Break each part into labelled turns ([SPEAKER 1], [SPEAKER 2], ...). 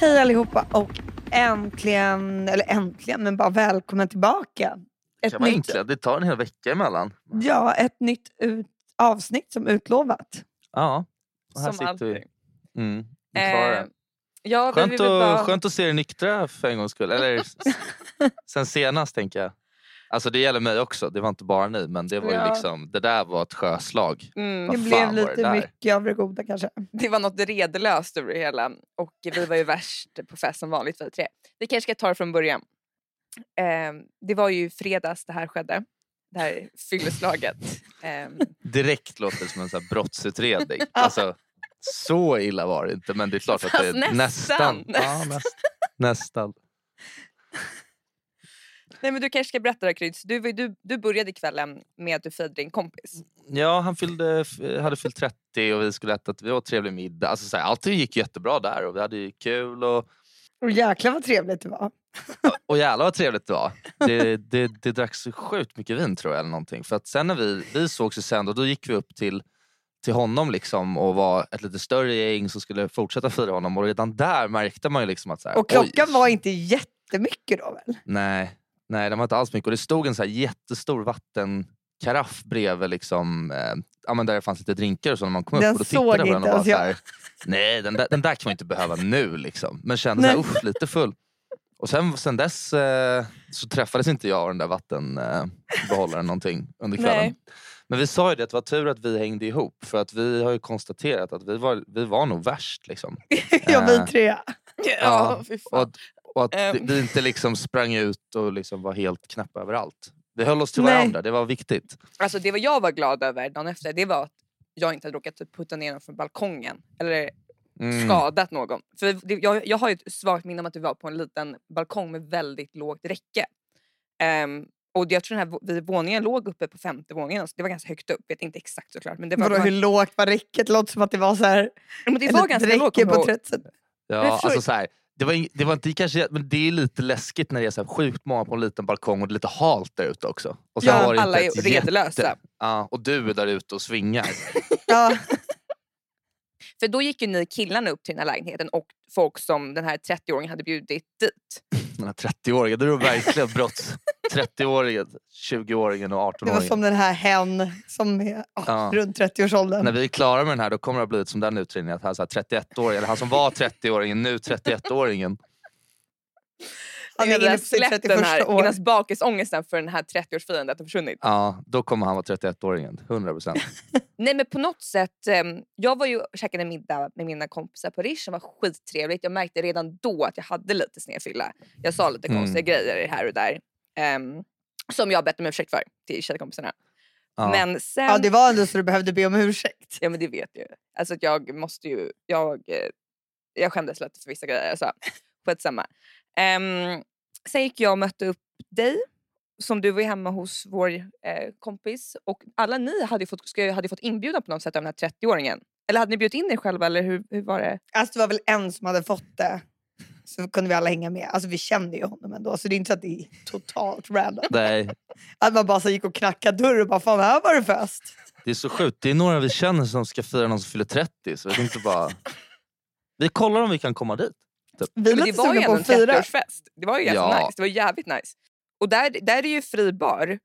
[SPEAKER 1] Hej allihopa och äntligen, eller äntligen, men bara välkommen tillbaka. Ett
[SPEAKER 2] Kan man
[SPEAKER 1] nytt,
[SPEAKER 2] egentligen? Det tar en hel vecka emellan.
[SPEAKER 1] ja, ett nytt ut, avsnitt som utlovat.
[SPEAKER 2] Ja. Och här
[SPEAKER 3] Som
[SPEAKER 2] sitter
[SPEAKER 3] alltid.
[SPEAKER 2] vi. Mm. vi klarar
[SPEAKER 3] Eh,
[SPEAKER 2] det.
[SPEAKER 3] ja, men vi
[SPEAKER 2] Skönt,
[SPEAKER 3] vill bara...
[SPEAKER 2] att, skönt att se er nyktra för en gångs skull. Eller s- sen senast tänker jag. Alltså det gäller mig också, det var inte bara ni. Men det var ju
[SPEAKER 3] Ja.
[SPEAKER 2] liksom, det där var ett sjöslag.
[SPEAKER 3] Mm,
[SPEAKER 1] Det
[SPEAKER 2] Vad
[SPEAKER 1] blev
[SPEAKER 2] fan var
[SPEAKER 1] lite
[SPEAKER 2] det där?
[SPEAKER 1] mycket av det goda kanske.
[SPEAKER 3] det var något redlöst över det hela och vi var ju värst på fest som vanligt vi tre. Vi kanske ska ta det från början. Ehm, det var ju i fredags det här skedde, det här fylleslaget. Ehm,
[SPEAKER 2] Direkt låter det som en sån här brottsutredning. Alltså, så illa var det inte. Men det är klart att det är
[SPEAKER 3] Fast
[SPEAKER 2] nästan.
[SPEAKER 3] nästan.
[SPEAKER 2] Ja, näst, nästan.
[SPEAKER 3] nej men du kanske ska berätta det här, Kryds. Du, var ju- du, du började kvällen med att du firade din kompis.
[SPEAKER 2] Ja, han fyllde, f- hade fyllt 30 och vi skulle äta, vi åt trevlig middag. Alltså, så här, allt gick jättebra där och vi hade ju kul. Och,
[SPEAKER 1] Och jäklar vad trevligt det var.
[SPEAKER 2] Och jävlar vad trevligt det var. Det, det, det dracks så sjukt mycket vin tror jag. Eller någonting. För att sen när vi, vi sågs ju sen och då gick vi upp till, till honom liksom och var ett lite större gäng som skulle fortsätta fira honom. Och redan där märkte man ju liksom att... Så här,
[SPEAKER 1] Och klockan
[SPEAKER 2] oj,
[SPEAKER 1] var inte jättemycket då väl?
[SPEAKER 2] Nej, nej, den var inte alls mycket. Och det stod en så här jättestor vattenkaraff bredvid liksom, eh, ja, men där det fanns lite drinkar och så när man kom
[SPEAKER 1] Den
[SPEAKER 2] upp. Och då
[SPEAKER 1] såg
[SPEAKER 2] tittade jag på den
[SPEAKER 1] inte
[SPEAKER 2] och
[SPEAKER 1] ens
[SPEAKER 2] bara
[SPEAKER 1] jag.
[SPEAKER 2] så här, nej den där, den där kan man inte behöva nu liksom. Men kände så här,
[SPEAKER 1] Nej.
[SPEAKER 2] uff, lite full. Och sen, sen dess eh, så träffades inte jag och den där vattenbehållaren eh, behållaren någonting under kvällen.
[SPEAKER 3] Nej.
[SPEAKER 2] Men vi sa ju det att det var tur att vi hängde ihop för att vi har ju konstaterat att vi var, vi var nog värst. Liksom.
[SPEAKER 1] Ja,
[SPEAKER 2] Eh.
[SPEAKER 1] vi tre.
[SPEAKER 2] Ja,
[SPEAKER 3] fy
[SPEAKER 2] Och att, och att vi-
[SPEAKER 3] Ehm.
[SPEAKER 2] vi inte liksom sprang ut och liksom var helt knäppa överallt. Vi höll oss till
[SPEAKER 1] Nej.
[SPEAKER 2] varandra, det var viktigt.
[SPEAKER 3] Alltså det vad jag var glad över dagen efter det var att jag inte hade råkat typ putta ner någon från balkongen. Eller
[SPEAKER 2] Mm.
[SPEAKER 3] skadat någon. För det, jag, jag har ju ett svagt minne om att vi var på en liten balkong med väldigt lågt räcke. Ehm, och jag tror den här vå- vi, våningen låg uppe på femte våningen, så det var ganska högt upp. Vet inte exakt såklart. Men det var,
[SPEAKER 1] Vadå, hur
[SPEAKER 3] men
[SPEAKER 1] lågt var räcket? Låter som att det var så här...
[SPEAKER 3] det var ganska
[SPEAKER 1] räcke
[SPEAKER 3] lågt. kommer jag
[SPEAKER 1] på
[SPEAKER 3] ihåg.
[SPEAKER 1] 30 cent.
[SPEAKER 2] Ja,
[SPEAKER 3] jag förstår-
[SPEAKER 2] alltså så här, det, var, ing- det var inte kanske, men det är lite läskigt när det är så här sjukt många på en liten balkong och det är lite halt där ute också. Och sen
[SPEAKER 1] Ja,
[SPEAKER 2] var det
[SPEAKER 3] Alla
[SPEAKER 2] inte
[SPEAKER 3] är
[SPEAKER 2] ett jätte-
[SPEAKER 3] redlösa.
[SPEAKER 2] Ja, och du är där ute och svingar.
[SPEAKER 1] Ja,
[SPEAKER 3] För då gick ju ni killarna upp till den här lägenheten och folk som den här 30-åringen hade bjudit dit.
[SPEAKER 2] Den här 30-åringen, det är då verkligen brott. 30-åringen, 20-åringen och
[SPEAKER 1] det var
[SPEAKER 2] 18-åringen.
[SPEAKER 1] som den här hen som är ja,
[SPEAKER 2] Ja.
[SPEAKER 1] runt 30-årsåldern.
[SPEAKER 2] När vi är klara med den här då kommer det ha blivit som den utredningen. Att han, så här 31-åringen, eller han som var 30-åringen, nu 31-åringen.
[SPEAKER 1] Han är
[SPEAKER 3] Innan vi
[SPEAKER 1] inne
[SPEAKER 3] har
[SPEAKER 1] på sitt
[SPEAKER 3] släppt den
[SPEAKER 1] 31:a år.
[SPEAKER 3] här, innan bakisångesten för den här 30-årsfirandet har försvunnit.
[SPEAKER 2] Ja, då kommer han vara 31-åringen. 100 procent.
[SPEAKER 3] Nej men på något sätt, ehm, jag var ju och käkade middag med mina kompisar på Rish som var skittrevligt. Jag märkte redan då att jag hade lite snedfylla. Jag sa lite
[SPEAKER 2] Mm.
[SPEAKER 3] konstiga grejer här och där. ehm, som jag bett om ursäkt för till tjejkompisarna.
[SPEAKER 2] Ja.
[SPEAKER 3] Men sen,
[SPEAKER 1] Ja, det var ändå så du behövde be om ursäkt.
[SPEAKER 3] ja men det vet jag ju. Alltså att jag måste ju, jag, eh, jag skämdes lite för vissa grejer. Alltså, skitsamma. Um, sen gick jag och mötte upp dig. Som du var ju hemma hos vår eh, kompis. Och alla ni hade ju fått, ska, ju- hade ju fått inbjudan på något sätt av den här 30-åringen. Eller hade ni bjudit in er själva eller hur, hur var det?
[SPEAKER 1] Alltså det var väl en som hade fått det. Så kunde vi alla hänga med. Alltså vi kände ju honom ändå. Så det är inte så att det är totalt random.
[SPEAKER 2] Nej,
[SPEAKER 1] Att man bara så gick och knackade dörr och bara fan här var det fest.
[SPEAKER 2] det är så sjukt. Det är några vi känner som ska fira någon som fyller 30. Så vi tänkte bara... Vi kollar om vi kan komma dit.
[SPEAKER 1] Vi är
[SPEAKER 3] Men det
[SPEAKER 1] lite
[SPEAKER 3] var ju
[SPEAKER 1] sugna på
[SPEAKER 3] ändå en
[SPEAKER 1] att fira.
[SPEAKER 3] 30-årsfest. Det var ju ganska
[SPEAKER 2] Ja.
[SPEAKER 3] nice. Det var jävligt nice. Och där, där är det ju fri bar.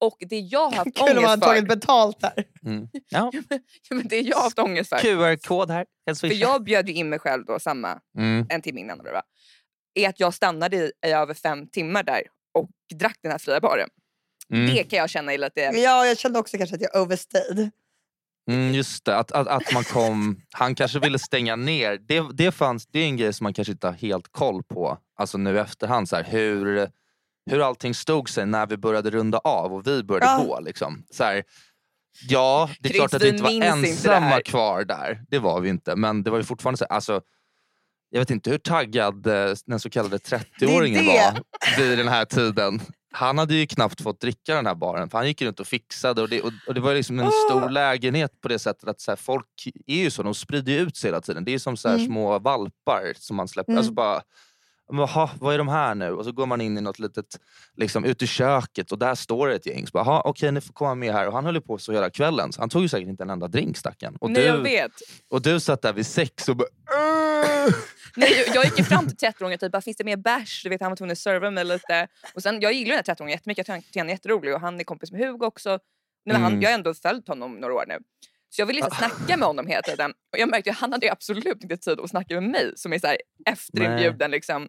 [SPEAKER 3] Och det jag har haft
[SPEAKER 1] Kul om
[SPEAKER 3] ångest
[SPEAKER 1] man
[SPEAKER 3] för.
[SPEAKER 1] tagit betalt där.
[SPEAKER 2] Mm. Ja.
[SPEAKER 3] Ja, men det jag har haft ångest för.
[SPEAKER 2] QR-kod här. Kan
[SPEAKER 3] För jag bjöd ju in mig själv då samma
[SPEAKER 2] mm.
[SPEAKER 3] en timme innan. eller vad det var, Är att jag stannade i, i över fem timmar där och drack den här fria baren.
[SPEAKER 2] Mm.
[SPEAKER 3] Det kan jag känna är lite...
[SPEAKER 1] Ja, jag kände också kanske att jag overstayed.
[SPEAKER 2] Mm, just det, att, att, att man kom... Han kanske ville stänga ner. Det, det, fanns, det är en grej som man kanske inte har helt koll på. Alltså nu i efterhand. Så här, hur, hur allting stod sig när vi började runda av och vi började
[SPEAKER 1] Ja.
[SPEAKER 2] gå. Liksom. Så här, ja, det är
[SPEAKER 3] Chris,
[SPEAKER 2] klart att
[SPEAKER 3] vi
[SPEAKER 2] vi inte var
[SPEAKER 3] minns inte det
[SPEAKER 2] ensamma
[SPEAKER 3] här.
[SPEAKER 2] kvar där. Det var vi inte. Men det var ju fortfarande så här, alltså, Jag vet inte hur taggad eh, den så kallade 30-åringen
[SPEAKER 1] Det är
[SPEAKER 2] var vid den här tiden. Han hade ju knappt fått dricka den här baren för han gick ju runt och fixade och det, och, och det var ju liksom
[SPEAKER 3] Ah!
[SPEAKER 2] en stor
[SPEAKER 1] Åh.
[SPEAKER 2] lägenhet på det sättet att så här, folk är ju så, de sprider ju ut sig hela tiden. Det är som så här
[SPEAKER 1] Mm.
[SPEAKER 2] små valpar som man släpper.
[SPEAKER 1] Mm.
[SPEAKER 2] Alltså bara, men Jaha, vad är de här nu? Och så går man in i något litet, liksom ut i köket och där står det ett gäng. Så bara, Jaha, okej ni får komma med här. Och han höll ju på så hela kvällen så han tog ju säkert inte en enda drink stackaren. Och
[SPEAKER 3] Nej, jag
[SPEAKER 2] du,
[SPEAKER 3] vet.
[SPEAKER 2] och du satt där vid sex och bara "Äh!" "Åh!"
[SPEAKER 3] Nej, jag, jag gick ju fram till 30-åringen och typ, bara, finns det mer bärs? Du vet, han var tvungen att serva mig lite. Och sen, jag gillar den här 30-åringen jättemycket, jag tycker han är jätterolig och han är kompis med Hugo också. Nej, men han,
[SPEAKER 2] Mm.
[SPEAKER 3] jag har ändå följt honom några år nu. Så jag ville liksom
[SPEAKER 2] Ah.
[SPEAKER 3] snacka med honom hela tiden. Och jag märkte att han hade ju absolut inte tid att snacka med mig som är så här efterinbjuden. Liksom.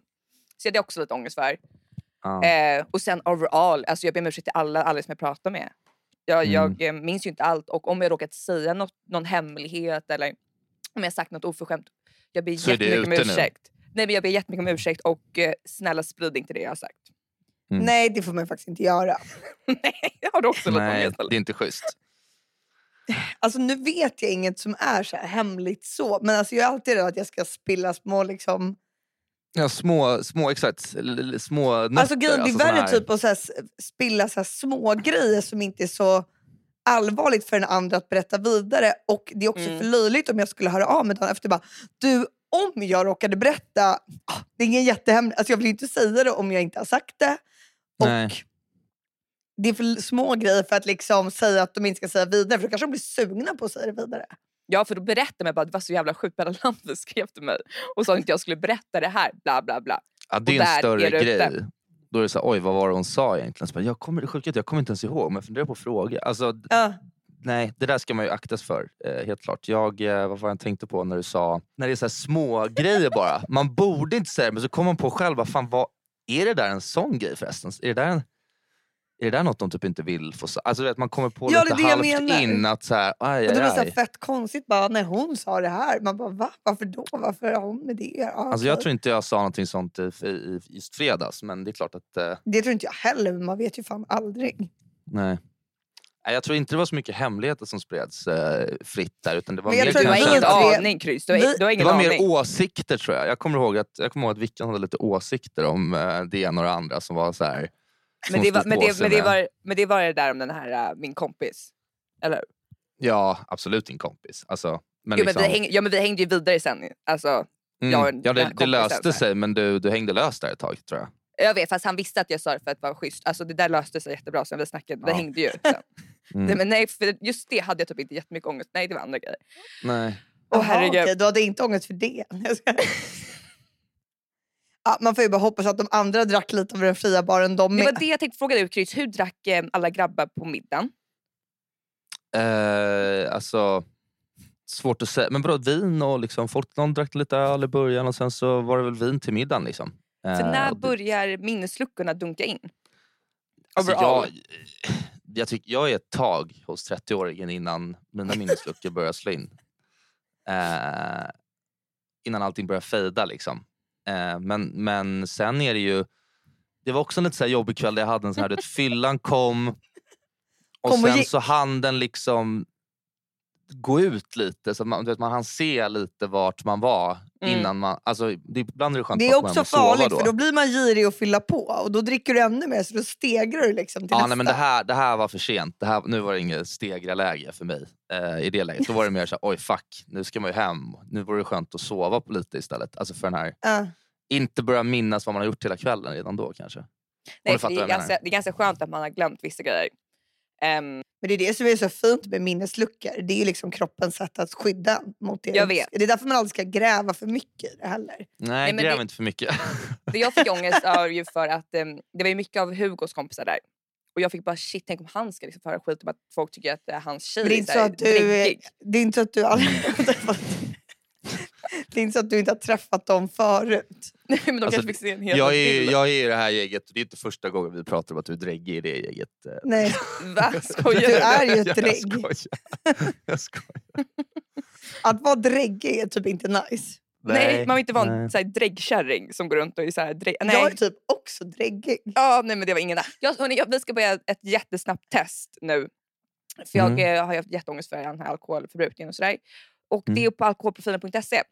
[SPEAKER 3] Så det är också lite ångest för.
[SPEAKER 2] Ja.
[SPEAKER 3] Eh, och sen overall, alltså jag ber om ursäkt till alla, alla som jag pratar med. Jag,
[SPEAKER 2] Mm.
[SPEAKER 3] jag eh, minns ju inte allt och om jag råkat säga något, någon hemlighet eller om jag sagt något oförskämt, jag ber
[SPEAKER 2] Så är det
[SPEAKER 3] jättemycket om
[SPEAKER 2] ute nu.
[SPEAKER 3] ursäkt. Nej men jag ber jättemycket om ursäkt och eh, snälla sprid inte det jag har sagt.
[SPEAKER 2] Mm.
[SPEAKER 1] Nej, det får man faktiskt inte göra.
[SPEAKER 3] Nej, jag har du också lite
[SPEAKER 2] Nej,
[SPEAKER 3] ångest eller?
[SPEAKER 2] det är inte schysst.
[SPEAKER 1] Alltså nu vet jag inget som är så här hemligt så. Men alltså jag är alltid rädd att jag ska spilla små liksom.
[SPEAKER 2] Ja, små, små, exakt. l- l- Små nötter.
[SPEAKER 1] alltså grejen, det är
[SPEAKER 2] såna
[SPEAKER 1] värre
[SPEAKER 2] här-
[SPEAKER 1] typ att så här, s- spilla så här små grejer som inte är så allvarligt för den andra att berätta vidare. Och det är också
[SPEAKER 3] Mm.
[SPEAKER 1] för löjligt om jag skulle höra av mig dagen efter bara, du om jag råkade berätta, ah, det är ingen jättehemligt, alltså jag vill ju inte säga det om jag inte har sagt det. Och
[SPEAKER 2] Nej.
[SPEAKER 1] det är för små grejer för att liksom säga att de inte ska säga vidare för då kanske de blir sugna på att säga det vidare.
[SPEAKER 3] Ja för då berättade man bara att det var så jävla sjukt alla Landvetter skrev till mig och sa inte jag skulle berätta det här bla bla bla.
[SPEAKER 2] Ja, det
[SPEAKER 3] och
[SPEAKER 2] är en
[SPEAKER 3] där är
[SPEAKER 2] större
[SPEAKER 3] det ute.
[SPEAKER 2] grej. Då är det så här, oj vad var det hon sa egentligen? Så bara, jag kommer, det sjuka är att jag kommer inte ens ihåg, men jag funderar på att fråga. Alltså, d-
[SPEAKER 1] Ja.
[SPEAKER 2] nej, det där ska man ju aktas för, eh, helt klart. Jag, eh, vad var jag tänkte på när du sa, när det är så här små grejer bara. Man borde inte säga det, men så kommer man på själv, vad fan, vad, är det där en sån grej förresten? Är det där, en, är det där något de typ inte vill få sa- Alltså du vet, man kommer på
[SPEAKER 1] Ja, det är
[SPEAKER 2] lite
[SPEAKER 1] det jag
[SPEAKER 2] halvt
[SPEAKER 1] menar.
[SPEAKER 2] in att så här, aj,
[SPEAKER 1] Och
[SPEAKER 2] aj,
[SPEAKER 1] då blir det så här
[SPEAKER 2] aj.
[SPEAKER 1] fett konstigt bara när hon sa det här. Man bara va? Varför då? Varför har hon med det? Ja,
[SPEAKER 2] Alltså,
[SPEAKER 1] okej.
[SPEAKER 2] jag tror inte jag sa någonting sånt i, i, just fredags, men det är klart att... Eh,
[SPEAKER 1] Det tror inte jag heller men man vet ju fan aldrig.
[SPEAKER 2] nej. Nej, Jag tror inte det var så mycket hemligheter som spreds eh, fritt där. Utan det var
[SPEAKER 1] Men jag
[SPEAKER 2] mer,
[SPEAKER 1] tror
[SPEAKER 3] Du
[SPEAKER 1] det
[SPEAKER 3] har
[SPEAKER 1] var
[SPEAKER 2] kanske
[SPEAKER 3] ingen
[SPEAKER 2] att-
[SPEAKER 1] tre-
[SPEAKER 3] aning Kryss, du
[SPEAKER 1] Vi-
[SPEAKER 3] har, du har
[SPEAKER 2] det
[SPEAKER 3] ingen
[SPEAKER 2] var
[SPEAKER 3] aning.
[SPEAKER 2] mer åsikter tror jag. Jag kommer ihåg att, jag kommer ihåg att Vickan hade lite åsikter om eh, det ena och det andra som var så här... som
[SPEAKER 3] Men det, var,
[SPEAKER 2] stod
[SPEAKER 3] men,
[SPEAKER 2] på
[SPEAKER 3] det,
[SPEAKER 2] sig
[SPEAKER 3] men, det
[SPEAKER 2] med-
[SPEAKER 3] var, men det var det där om den här äh, min kompis. Eller?
[SPEAKER 2] Ja, absolut din kompis. Alltså, men
[SPEAKER 3] jo,
[SPEAKER 2] liksom,
[SPEAKER 3] men vi häng, ja men vi hängde ju vidare sen. Alltså,
[SPEAKER 2] mm,
[SPEAKER 3] jag-
[SPEAKER 2] ja,
[SPEAKER 3] den
[SPEAKER 2] det,
[SPEAKER 3] här
[SPEAKER 2] det
[SPEAKER 3] kompisen så
[SPEAKER 2] löste
[SPEAKER 3] här.
[SPEAKER 2] sig men du, du hängde löst där ett tag tror jag.
[SPEAKER 3] jag vet fast han visste att jag sa det för att vara schysst. Alltså, det där löste sig jättebra sen vi snackade. Vi
[SPEAKER 2] Ja.
[SPEAKER 3] hängde ju. Sen.
[SPEAKER 2] Mm.
[SPEAKER 3] nej, men nej, för just det hade jag typ inte jättemycket ångest. Nej det var andra grejer.
[SPEAKER 2] Nej.
[SPEAKER 3] Åh
[SPEAKER 1] Jaha,
[SPEAKER 3] herregud.
[SPEAKER 1] okej, du hade inte ångest för det? Jag skojar. ja, man får ju bara hoppas att de andra drack lite av den fria baren de
[SPEAKER 3] Det
[SPEAKER 1] med.
[SPEAKER 3] var det jag tänkte fråga dig Kryss. Hur drack eh, alla grabbar på middagen?
[SPEAKER 2] Eh, alltså, svårt att säga. Men bra, vin och liksom, folk, någon drack lite öl i början och sen så var det väl vin till middagen. Liksom.
[SPEAKER 3] För
[SPEAKER 2] Eh,
[SPEAKER 3] när
[SPEAKER 2] och det-
[SPEAKER 3] börjar minnesluckorna dunka in?
[SPEAKER 2] alltså, jag,
[SPEAKER 3] Overall.
[SPEAKER 2] jag, tycker, jag är ett tag hos 30-åringen innan mina minnesluckor börjar slå in. Eh, innan allting börjar fejda. Liksom. Eh, men, men sen är det ju... Det var också en lite så här jobbig kväll där jag hade en sån här, du vet, fyllan kom och
[SPEAKER 1] Kom och
[SPEAKER 2] sen
[SPEAKER 1] gick.
[SPEAKER 2] så hann den liksom gå ut lite så att man, du vet, man hann se lite vart man var
[SPEAKER 3] Mm.
[SPEAKER 2] innan man... Alltså, det, ibland är det skönt
[SPEAKER 1] Det
[SPEAKER 2] att
[SPEAKER 1] är
[SPEAKER 2] gå hem
[SPEAKER 1] också
[SPEAKER 2] och sova
[SPEAKER 1] farligt för då blir man girig och fylla på och då dricker du ännu mer så då stegrar du liksom till
[SPEAKER 2] Ja,
[SPEAKER 1] nästa.
[SPEAKER 2] nej, men det, här, det här var för sent. Det här, nu var det inget stegra-läge för mig. Eh, I det läget. Då var det mer så här, oj fuck, nu ska man ju hem. Nu vore det skönt att sova på lite istället. Alltså för den här,
[SPEAKER 1] Ja.
[SPEAKER 2] inte börja minnas vad man har gjort hela kvällen redan då kanske. du
[SPEAKER 3] Nej, för
[SPEAKER 2] fattar
[SPEAKER 3] det, är
[SPEAKER 2] vad jag menar.
[SPEAKER 3] ganska, det är ganska skönt att man har glömt vissa grejer. Ehm,
[SPEAKER 1] Men det är det som är så fint med minnesluckor. Det är ju liksom kroppens sätt att skydda mot det.
[SPEAKER 3] Jag vet.
[SPEAKER 1] Det är därför man aldrig ska gräva för mycket i det heller.
[SPEAKER 2] Nej,
[SPEAKER 3] men
[SPEAKER 2] gräv
[SPEAKER 3] det-
[SPEAKER 2] inte för mycket.
[SPEAKER 3] Det jag fick ångest av ju för att em, det var ju mycket av Hugos kompisar där. Och jag fick bara shit, tänk om han ska liksom föra skit om att folk tycker att eh, hans tjej
[SPEAKER 1] Men det är
[SPEAKER 3] är
[SPEAKER 1] inte
[SPEAKER 3] så här
[SPEAKER 1] så att du är-
[SPEAKER 3] dräggig.
[SPEAKER 1] Det är inte så att du aldrig har träffat Det är inte så att du inte har träffat dem förut.
[SPEAKER 3] Nej, men de
[SPEAKER 2] Alltså,
[SPEAKER 3] kanske fick se en hel
[SPEAKER 2] jag, är,
[SPEAKER 3] bild.
[SPEAKER 2] jag är i det här gänget och det är inte första gången vi pratar om att du är dräggig i det gänget. eh.
[SPEAKER 1] Nej.
[SPEAKER 3] Va? Skojar
[SPEAKER 1] Du är ju ett
[SPEAKER 2] Jag
[SPEAKER 1] drägg.
[SPEAKER 2] skojar. Jag skojar.
[SPEAKER 1] Att vara dräggig är typ inte nice.
[SPEAKER 3] Nej, man vill inte vara
[SPEAKER 2] nej.
[SPEAKER 3] en så här dräggkärring som går runt och är så här drägg.
[SPEAKER 1] Jag är
[SPEAKER 3] Nej.
[SPEAKER 1] typ också dräggig.
[SPEAKER 3] Ja, nej, men det var ingen... Jag, hörni, jag, vi ska börja ett jättesnabbt test nu. För jag
[SPEAKER 1] Mm.
[SPEAKER 3] eh, har ju haft jätteångest för den här alkoholförbrukningen och sådär. Och det
[SPEAKER 2] Mm.
[SPEAKER 3] är på alkoholprofilen.se.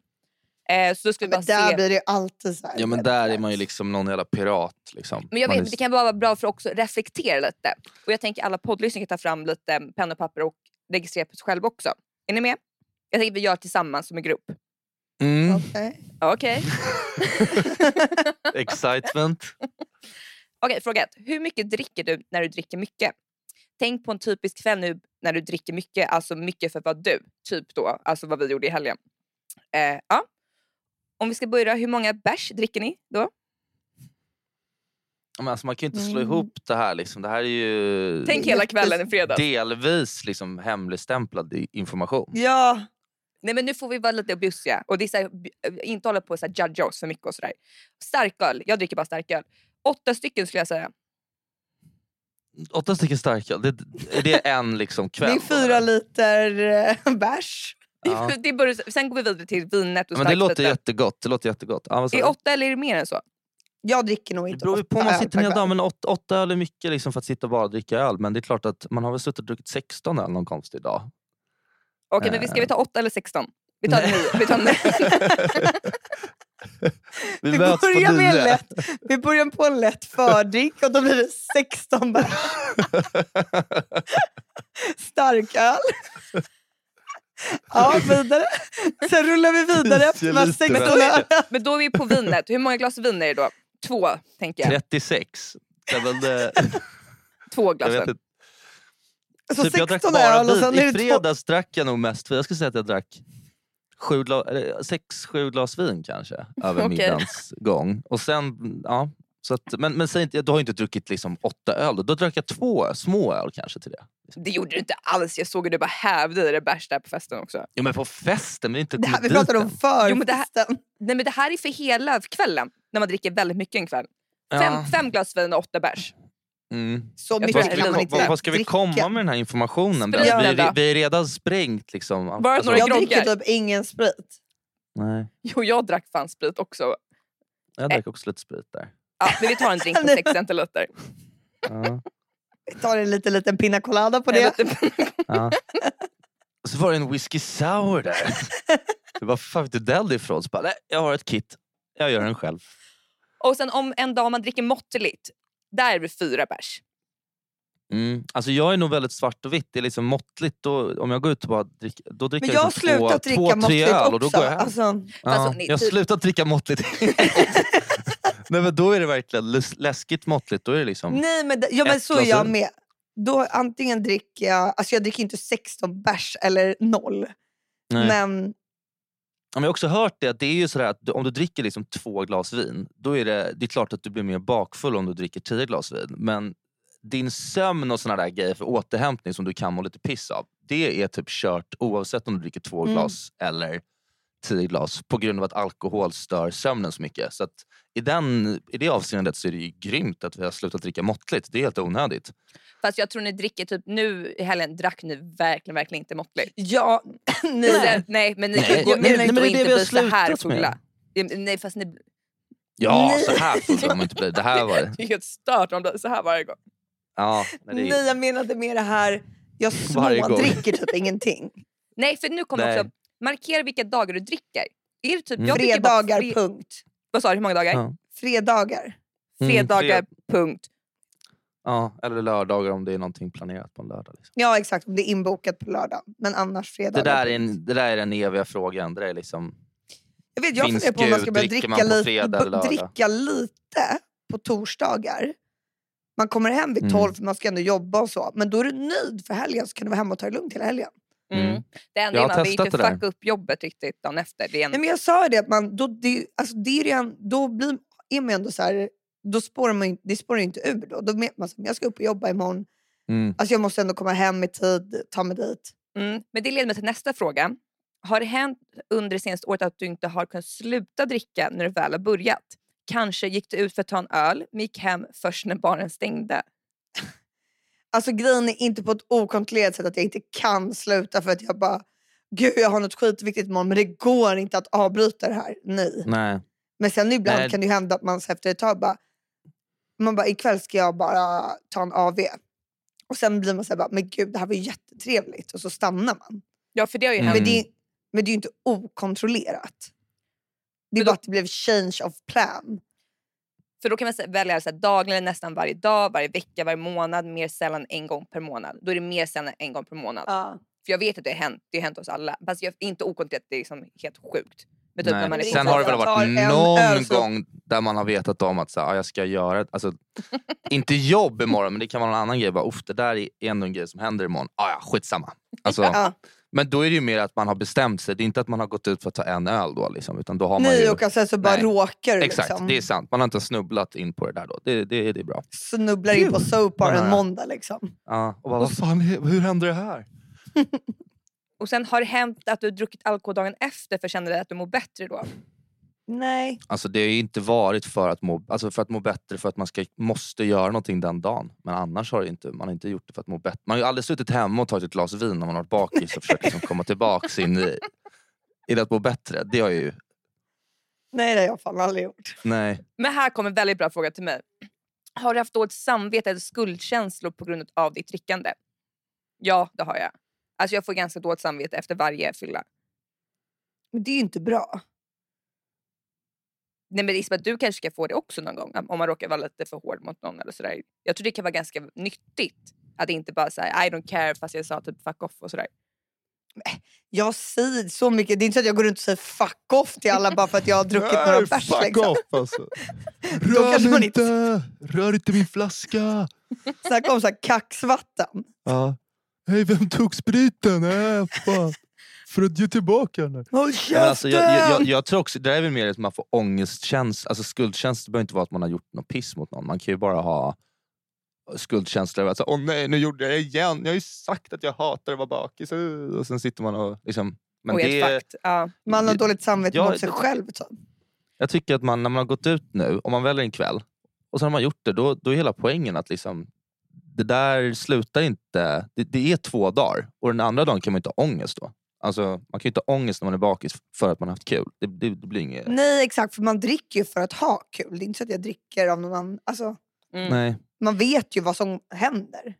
[SPEAKER 3] Eh, så då ska vi bara
[SPEAKER 1] Men där
[SPEAKER 3] se...
[SPEAKER 1] blir det ju alltid så här.
[SPEAKER 2] Ja, men där är man ju liksom någon jävla pirat. Liksom.
[SPEAKER 3] Men jag
[SPEAKER 2] Man
[SPEAKER 3] vet,
[SPEAKER 2] är
[SPEAKER 3] men det kan bara vara bra för att också reflektera lite. Och jag tänker alla poddlyssnare kan ta fram lite eh, penna och papper och registrera på sig själva också. Är ni med? Jag tänker att vi gör tillsammans som en grupp.
[SPEAKER 2] Mm.
[SPEAKER 1] Okej.
[SPEAKER 3] Okej.
[SPEAKER 2] Excitement.
[SPEAKER 3] Okej, fråga ett. Hur mycket dricker du när du dricker mycket? Tänk på en typisk kväll nu när du dricker mycket, alltså mycket för vad du, typ då, alltså vad vi gjorde i helgen. Eh, ja. Om vi ska börja, hur många bärs dricker ni då?
[SPEAKER 2] Men alltså man kan ju inte slå
[SPEAKER 1] Mm.
[SPEAKER 2] ihop det här. Liksom. Det här är ju
[SPEAKER 3] Tänk hela kvällen i fredag.
[SPEAKER 2] delvis liksom hemligstämplad i- information.
[SPEAKER 1] Ja,
[SPEAKER 3] Nej men nu får vi vara lite bjussiga och det är så här, bj- inte hålla på och så här judge oss för mycket och sådär. Starköl, jag dricker bara starköl. Åtta stycken skulle jag säga.
[SPEAKER 2] Åtta stycken starköl, det, är det en liksom kväll?
[SPEAKER 1] det är fyra liter eh, bärs.
[SPEAKER 2] Ja.
[SPEAKER 3] Det börjar, sen går vi vidare till vinet och
[SPEAKER 2] Men det låter
[SPEAKER 3] starkspriten.
[SPEAKER 2] jättegott. Det låter jättegott. Ja, vad sa
[SPEAKER 3] Är
[SPEAKER 2] du?
[SPEAKER 3] åtta eller är det mer än så?
[SPEAKER 1] Jag dricker nog
[SPEAKER 2] Det
[SPEAKER 1] inte
[SPEAKER 2] beror ju på
[SPEAKER 1] åtta
[SPEAKER 2] om man
[SPEAKER 1] öl
[SPEAKER 2] sitter
[SPEAKER 1] per
[SPEAKER 2] hela
[SPEAKER 1] kväll.
[SPEAKER 2] dagen. Men åtta, åtta öl är mycket liksom för att sitta och bara dricka öl. Men det är klart att man har väl suttit och druckit 16 öl någon konstig dag.
[SPEAKER 3] Okej men vi ska vi ta åtta eller 16? Vi tar
[SPEAKER 2] Nej.
[SPEAKER 3] nio. Vi tar nio.
[SPEAKER 2] Vi
[SPEAKER 1] Vi
[SPEAKER 2] möts på
[SPEAKER 1] börjar, med en
[SPEAKER 2] nio.
[SPEAKER 1] lätt, vi börjar på en lätt fördrink och då blir det 16 bärs starköl. Ja, vidare. Sen rullar vi vidare efter de här 16
[SPEAKER 2] Tio
[SPEAKER 1] ölen.
[SPEAKER 3] men då är vi på vinet. Hur många glas vin är det då? Två tänker jag.
[SPEAKER 2] 36. Ja, men, eh,
[SPEAKER 3] Två
[SPEAKER 2] jag
[SPEAKER 3] glas
[SPEAKER 2] vet
[SPEAKER 3] vin.
[SPEAKER 2] inte.
[SPEAKER 1] Så
[SPEAKER 2] Typ, jag drack
[SPEAKER 1] 16
[SPEAKER 2] bara
[SPEAKER 1] Alltså, öl och sen
[SPEAKER 2] vin.
[SPEAKER 1] är
[SPEAKER 2] I
[SPEAKER 1] det två.
[SPEAKER 2] fredags drack jag nog mest vin. Jag skulle säga att jag drack sju gla, eller sex, sju glas vin kanske. Över
[SPEAKER 3] Okej.
[SPEAKER 2] middagens gång. Och sen, ja. Så att, men men säg inte, du har ju inte druckit liksom åtta öl. Då drack jag två små öl kanske till det.
[SPEAKER 3] Det gjorde du inte alls. Jag såg hur du bara hävde i det bärs där på festen också.
[SPEAKER 2] Jo men på festen, men inte
[SPEAKER 1] Det här, vi
[SPEAKER 2] kommit
[SPEAKER 1] pratar
[SPEAKER 2] dit
[SPEAKER 1] om
[SPEAKER 2] än.
[SPEAKER 1] förfesten.
[SPEAKER 3] Jo, men det här- Nej men det här är för hela kvällen. När man dricker väldigt mycket en kväll.
[SPEAKER 2] Ja.
[SPEAKER 3] Fem, fem glas vin och åtta bärs.
[SPEAKER 2] Mm.
[SPEAKER 1] Så
[SPEAKER 3] Jag
[SPEAKER 2] Vad
[SPEAKER 1] mycket
[SPEAKER 2] ska,
[SPEAKER 1] kan
[SPEAKER 2] vi,
[SPEAKER 3] tror
[SPEAKER 1] man
[SPEAKER 2] vad,
[SPEAKER 1] inte
[SPEAKER 2] vad ska vi
[SPEAKER 1] dricka.
[SPEAKER 2] komma med den här informationen?
[SPEAKER 3] Sprit
[SPEAKER 2] Bella? Vi, vi,
[SPEAKER 3] då.
[SPEAKER 2] vi är redan sprängt liksom.
[SPEAKER 3] Bara några
[SPEAKER 1] Jag
[SPEAKER 3] groggar.
[SPEAKER 1] dricker typ ingen sprit.
[SPEAKER 2] nej,
[SPEAKER 3] Jo, jag drack fan sprit också.
[SPEAKER 2] jag
[SPEAKER 1] Eh.
[SPEAKER 2] drack också lite sprit där.
[SPEAKER 3] Ja, men vi tar en drink på 6 centiliter.
[SPEAKER 2] Ja,
[SPEAKER 1] Vi tar en liten, liten pina colada på
[SPEAKER 3] En
[SPEAKER 1] det.
[SPEAKER 3] liten-
[SPEAKER 2] ja. Och Så var det en whisky sour där. Så Vad fan fick du den ifrån? Så bara, nej, jag har ett kit. Jag gör den själv.
[SPEAKER 3] Och sen om en dag man dricker måttligt, där är det fyra bärs.
[SPEAKER 2] Mm. Alltså jag är nog väldigt svart och vitt. Det är liksom måttligt. Då, om jag går ut och bara dricker, då dricker
[SPEAKER 1] Men jag har
[SPEAKER 2] liksom två,
[SPEAKER 1] slutat dricka
[SPEAKER 2] två, tre
[SPEAKER 1] måttligt
[SPEAKER 2] öl och då
[SPEAKER 1] också.
[SPEAKER 2] går jag hem.
[SPEAKER 1] Alltså,
[SPEAKER 2] Ja,
[SPEAKER 3] Alltså, ni-
[SPEAKER 2] jag har
[SPEAKER 3] typ-
[SPEAKER 2] slutat dricka måttligt. Nej, men då är det verkligen läs- läskigt måttligt. Då är det liksom...
[SPEAKER 1] nej, men, det- ja, men
[SPEAKER 2] Ett
[SPEAKER 1] så är
[SPEAKER 2] glas
[SPEAKER 1] jag
[SPEAKER 2] vin.
[SPEAKER 1] med. Då antingen dricker jag, alltså jag dricker inte 16 bärs eller noll.
[SPEAKER 2] Nej.
[SPEAKER 1] Men
[SPEAKER 2] Ja, men jag har också hört det, att det är ju sådär att du, om du dricker liksom två glas vin, då är det, det är klart att du blir mer bakfull om du dricker tio glas vin. Men din sömn och sådana där grejer för återhämtning som du kan må lite piss av, det är typ kört oavsett om du dricker två
[SPEAKER 1] Mm.
[SPEAKER 2] glas eller tio glas på grund av att alkohol stör sömnen så mycket. Så att i, den, I det avseendet så är det ju grymt att vi har slutat dricka måttligt. Det är helt onödigt.
[SPEAKER 3] Fast jag tror ni dricker typ nu i helgen drack ni verkligen, verkligen inte måttligt.
[SPEAKER 1] ja,
[SPEAKER 3] Nej,
[SPEAKER 1] nej.
[SPEAKER 3] nej, men ni
[SPEAKER 2] Nej,
[SPEAKER 3] kan gå
[SPEAKER 2] jag menar
[SPEAKER 3] ut
[SPEAKER 2] inte- men
[SPEAKER 3] och
[SPEAKER 2] det är det
[SPEAKER 3] inte
[SPEAKER 2] vi har
[SPEAKER 3] bli så här
[SPEAKER 2] slutat med.
[SPEAKER 3] fulla. Det- Nej fast ni det
[SPEAKER 2] Ja,
[SPEAKER 1] Nej.
[SPEAKER 2] så här full får man inte bli. Det här var...
[SPEAKER 3] är helt stört om det är så här varje gång.
[SPEAKER 2] Ja, nej, det är,
[SPEAKER 1] Nej, jag menade med det här, jag
[SPEAKER 2] Varje gång.
[SPEAKER 1] smådricker typ ingenting.
[SPEAKER 3] Nej för nu kommer
[SPEAKER 2] Nej.
[SPEAKER 3] också, markera vilka dagar du dricker. Är det typ,
[SPEAKER 2] Mm.
[SPEAKER 3] jag dricker bara
[SPEAKER 1] Fredagar,
[SPEAKER 3] fre-
[SPEAKER 1] punkt.
[SPEAKER 3] Vad sa du, hur många dagar?
[SPEAKER 2] Ja.
[SPEAKER 1] Fredagar.
[SPEAKER 2] Mm,
[SPEAKER 3] Fredagar, punkt.
[SPEAKER 2] Ja, eller lördagar om det är någonting planerat på en lördag. Liksom.
[SPEAKER 1] Ja, exakt. Om det är inbokat på lördag. Men annars
[SPEAKER 2] Det,
[SPEAKER 1] fredagar.
[SPEAKER 2] där är
[SPEAKER 1] punkt.
[SPEAKER 2] en, det där är den eviga frågan. Det där är liksom,
[SPEAKER 1] Jag vet, jag
[SPEAKER 2] Finns
[SPEAKER 1] funderar på om man
[SPEAKER 2] Gud,
[SPEAKER 1] ska börja dricka,
[SPEAKER 2] dricker man på
[SPEAKER 1] lite,
[SPEAKER 2] fredag
[SPEAKER 1] b-
[SPEAKER 2] eller lördag?
[SPEAKER 1] dricka lite på torsdagar. Man kommer hem vid
[SPEAKER 2] Mm.
[SPEAKER 1] 12 för man ska ändå jobba och så. Men då är du nöjd för helgen så kan du vara hemma och ta det lugnt hela helgen.
[SPEAKER 3] Mm.
[SPEAKER 2] Mm.
[SPEAKER 3] Det enda
[SPEAKER 2] Jag
[SPEAKER 3] är
[SPEAKER 2] har
[SPEAKER 3] man vill ju
[SPEAKER 2] testat
[SPEAKER 3] inte
[SPEAKER 2] det där.
[SPEAKER 3] fucka upp jobbet riktigt dagen efter. Det är en...
[SPEAKER 1] Nej, men jag sa ju det att man, då, det, alltså, det är, ju redan, då blir, är man ju ändå så här, då spårar man, ju- det spårar ju inte ur då. Då vet man att jag ska upp och jobba imorgon.
[SPEAKER 2] mm.
[SPEAKER 1] Alltså, jag måste ändå komma hem i tid, ta mig dit.
[SPEAKER 3] Mm. Men det leder mig till nästa fråga. Har det hänt under det senaste året att du inte har kunnat sluta dricka när du väl har börjat? Kanske gick du ut för att ta en öl men gick hem först när baren stängde.
[SPEAKER 1] Alltså grejen är inte på ett okontrollerat sätt att jag inte kan sluta för att jag bara, gud jag har något skitviktigt imorgon men det går inte att avbryta det här. Nej.
[SPEAKER 2] Nej.
[SPEAKER 1] Men sen ibland
[SPEAKER 2] Nej.
[SPEAKER 1] kan det ju hända att man så efter ett tag bara, man bara, ikväll ska jag bara ta en AV. Och sen blir man så här, bara, men gud det här var ju jättetrevligt och så stannar man.
[SPEAKER 3] Ja, för det har ju
[SPEAKER 2] Mm.
[SPEAKER 3] hänt.
[SPEAKER 1] Men, det, är- men det är ju inte okontrollerat. Det är
[SPEAKER 3] Men då-
[SPEAKER 1] bara att det blev change of plan.
[SPEAKER 3] För då kan man sä- välja så här, dagligen, nästan varje dag, varje vecka, varje månad, mer sällan en gång per månad. Då är det mer sällan en gång per månad. För jag vet att det har hänt, det har hänt oss alla. Fast jag, inte okontrollerat, det är liksom helt sjukt. Men typ när man är
[SPEAKER 2] Nej.
[SPEAKER 1] inte
[SPEAKER 2] Sen
[SPEAKER 1] så
[SPEAKER 2] har det
[SPEAKER 1] att
[SPEAKER 2] väl
[SPEAKER 1] man
[SPEAKER 2] varit
[SPEAKER 1] tar en öl
[SPEAKER 2] någon
[SPEAKER 1] så-
[SPEAKER 2] gång där man har vetat om att så, här, ah, jag ska göra ett, alltså, inte jobb imorgon men det kan vara någon annan grej. Bara, Uff, det där är ändå en grej som händer imorgon. Ah, ja, skitsamma. Alltså,
[SPEAKER 1] Ja.
[SPEAKER 2] Men då är det ju mer att man har bestämt sig. Det är inte att man har gått ut för att ta en öl då. Liksom, utan då har man
[SPEAKER 1] Ni
[SPEAKER 2] ju...
[SPEAKER 1] och sen så bara
[SPEAKER 2] Nej.
[SPEAKER 1] råkar du
[SPEAKER 2] Exakt,
[SPEAKER 1] liksom.
[SPEAKER 2] det är sant. Man har inte snubblat in på det där då. Det, det, det är bra.
[SPEAKER 1] Snubblar in på soap bar en
[SPEAKER 2] Ja.
[SPEAKER 1] måndag liksom.
[SPEAKER 2] Ja, och bara, vad fan, är- hur hände det här?
[SPEAKER 3] Och sen har det hänt att du druckit alkohol dagen efter för känner dig att du mår bättre då?
[SPEAKER 1] Nej.
[SPEAKER 2] Alltså det har ju inte varit för att må, alltså för att må bättre, för att man ska, måste göra någonting den dagen. Men annars har det inte, man har inte gjort det för att må bättre. Man har ju aldrig suttit hemma och tagit ett glas vin när man har varit bakis och försökt liksom komma tillbaka in i, i det att må bättre. Det har jag ju,
[SPEAKER 1] Nej, det har jag fan aldrig gjort.
[SPEAKER 2] nej.
[SPEAKER 3] Men här kommer en väldigt bra fråga till mig. Har du haft dåligt samvete eller skuldkänslor på grund av ditt drickande? Ja, det har jag. Alltså jag får ganska dåligt samvete efter varje fylla.
[SPEAKER 1] Men det är ju inte bra.
[SPEAKER 3] Nej men Isabel, du kanske ska få det också någon gång om man råkar vara lite för hård mot någon eller sådär. Jag tror det kan vara ganska nyttigt att inte bara säga I don't care fast jag sa typ fuck off och sådär.
[SPEAKER 1] Jag säger så mycket. Det är inte så att jag går runt och säger fuck off till alla bara för att jag har druckit några bärs. Liksom.
[SPEAKER 2] alltså.
[SPEAKER 1] Då kanske man inte-
[SPEAKER 2] rör inte min flaska.
[SPEAKER 1] Snacka om så här kaxvatten.
[SPEAKER 2] Ja. Hej, vem tog spriten? Äh, fan. För att ge tillbaka den.
[SPEAKER 1] Håll
[SPEAKER 2] Ja,
[SPEAKER 1] käften!
[SPEAKER 2] men alltså, jag, jag, jag, jag tror också, det där är väl mer att man får ångestkänsla, alltså skuldkänsla behöver inte vara att man har gjort något piss mot någon, man kan ju bara ha skuldkänsla över att så, åh nej nu gjorde jag det igen, jag har ju sagt att jag hatar att vara bakis. uh." Och sen sitter man och liksom... Men
[SPEAKER 3] och helt
[SPEAKER 2] det,
[SPEAKER 3] fucked. Ja.
[SPEAKER 1] Man har dåligt samvete
[SPEAKER 2] Ja,
[SPEAKER 1] mot sig
[SPEAKER 2] det-
[SPEAKER 1] själv. Så.
[SPEAKER 2] jag tycker att man, när man har gått ut nu, om man väljer en kväll och sen har man gjort det, då, då är hela poängen att liksom, det där slutar inte, det, det är två dagar och den andra dagen kan man inte ha ångest då. Alltså, man kan ju inte ha ångest när man är bakis för att man har haft kul. Det, det, det blir inget...
[SPEAKER 3] Mm.
[SPEAKER 1] Nej, exakt. För man dricker ju för att ha kul. Det är inte så att jag dricker av någon annan. Alltså,
[SPEAKER 3] Mm.
[SPEAKER 2] Nej.
[SPEAKER 1] man vet ju vad som händer.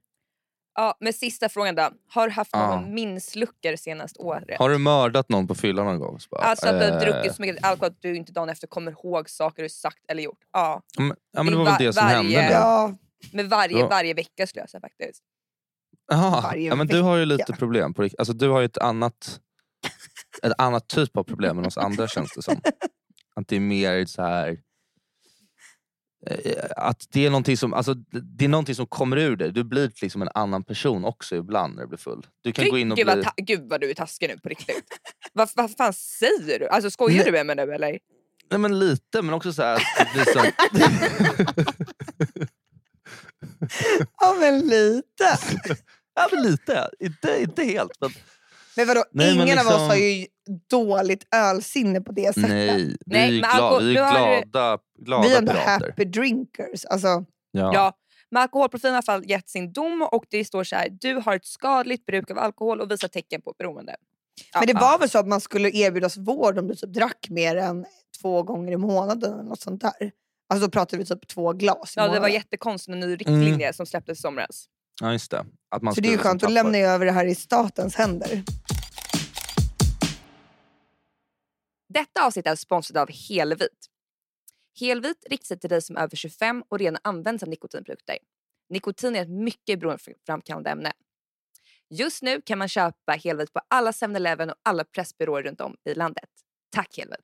[SPEAKER 3] Ja, men sista frågan då. Har du haft
[SPEAKER 2] Ja.
[SPEAKER 3] någon minnesluckor senaste året?
[SPEAKER 2] Har du mördat någon på fyllan någon gång? Så bara,
[SPEAKER 3] Alltså att du har
[SPEAKER 2] eh,
[SPEAKER 3] druckit så mycket alkohol att du inte dagen efter kommer ihåg saker du sagt eller gjort. Ja,
[SPEAKER 2] Ja, eh, men, ja, men det
[SPEAKER 3] i
[SPEAKER 2] var väl
[SPEAKER 3] va-
[SPEAKER 2] det som
[SPEAKER 3] varje-
[SPEAKER 2] hände nu. Ja.
[SPEAKER 1] Ja,
[SPEAKER 3] men varje,
[SPEAKER 2] Ja.
[SPEAKER 3] varje vecka skulle jag säga faktiskt.
[SPEAKER 1] varje
[SPEAKER 2] ja, men du har ju lite
[SPEAKER 1] vecka.
[SPEAKER 2] problem. På, rikt- alltså, du har ju ett annat, ett annat typ av problem än oss andra känns det som. Att det är mer så här... eh, Att det är, någonting som, alltså, det- det är någonting som kommer ur dig. Du blir liksom en annan person också ibland när du blir full. Du kan gå in och
[SPEAKER 3] Gud,
[SPEAKER 2] bli...
[SPEAKER 3] vad ta- Gud vad du är taskig nu på riktigt. vad, vad fan säger du? Alltså skojar
[SPEAKER 2] Nej.
[SPEAKER 3] du med mig nu eller?
[SPEAKER 2] Nej men lite, men också så här att det blir så...
[SPEAKER 1] ja, men lite.
[SPEAKER 2] ja, men lite. Inte, inte helt. Men...
[SPEAKER 1] Men vadå,
[SPEAKER 2] Nej, men
[SPEAKER 1] ingen av oss
[SPEAKER 2] liksom-
[SPEAKER 1] har ju dåligt ölsinne på det sättet.
[SPEAKER 2] Nej, vi
[SPEAKER 3] Nej,
[SPEAKER 2] är ju
[SPEAKER 3] men
[SPEAKER 2] glada,
[SPEAKER 3] alkohol-
[SPEAKER 2] vi är
[SPEAKER 3] nu har
[SPEAKER 2] ju
[SPEAKER 3] du-
[SPEAKER 2] glada, glada
[SPEAKER 1] Vi är ändå
[SPEAKER 2] pirater.
[SPEAKER 1] happy drinkers. Alltså,
[SPEAKER 2] Ja.
[SPEAKER 3] Ja. Men alkoholprofilen har i alla fall gett sin dom och det står så här. Du har ett skadligt bruk av alkohol och visar tecken på beroende. Ja.
[SPEAKER 1] Men det var väl så att man skulle erbjudas vård om du typ drack mer än två gånger i månaden eller något sånt där. Alltså då pratade vi typ två glas i
[SPEAKER 3] Ja, det var
[SPEAKER 1] månaden.
[SPEAKER 3] jättekonstigt en ny riktlinje
[SPEAKER 2] Mm.
[SPEAKER 3] som släpptes i somras.
[SPEAKER 2] ja, just det. Att man
[SPEAKER 1] Så det är ju
[SPEAKER 2] skulle liksom
[SPEAKER 1] skönt, då
[SPEAKER 2] tappa-
[SPEAKER 1] lämnar jag över det här i statens händer.
[SPEAKER 3] Detta avsnitt är sponsrat av Helvit. Helvit riktar sig till dig som är över 25 och redan används av nikotinprodukter. Nikotin är ett mycket beroendeframkallande ämne. Just nu kan man köpa Helvit på alla 7-Eleven och alla pressbyråer runt om i landet. Tack Helvit!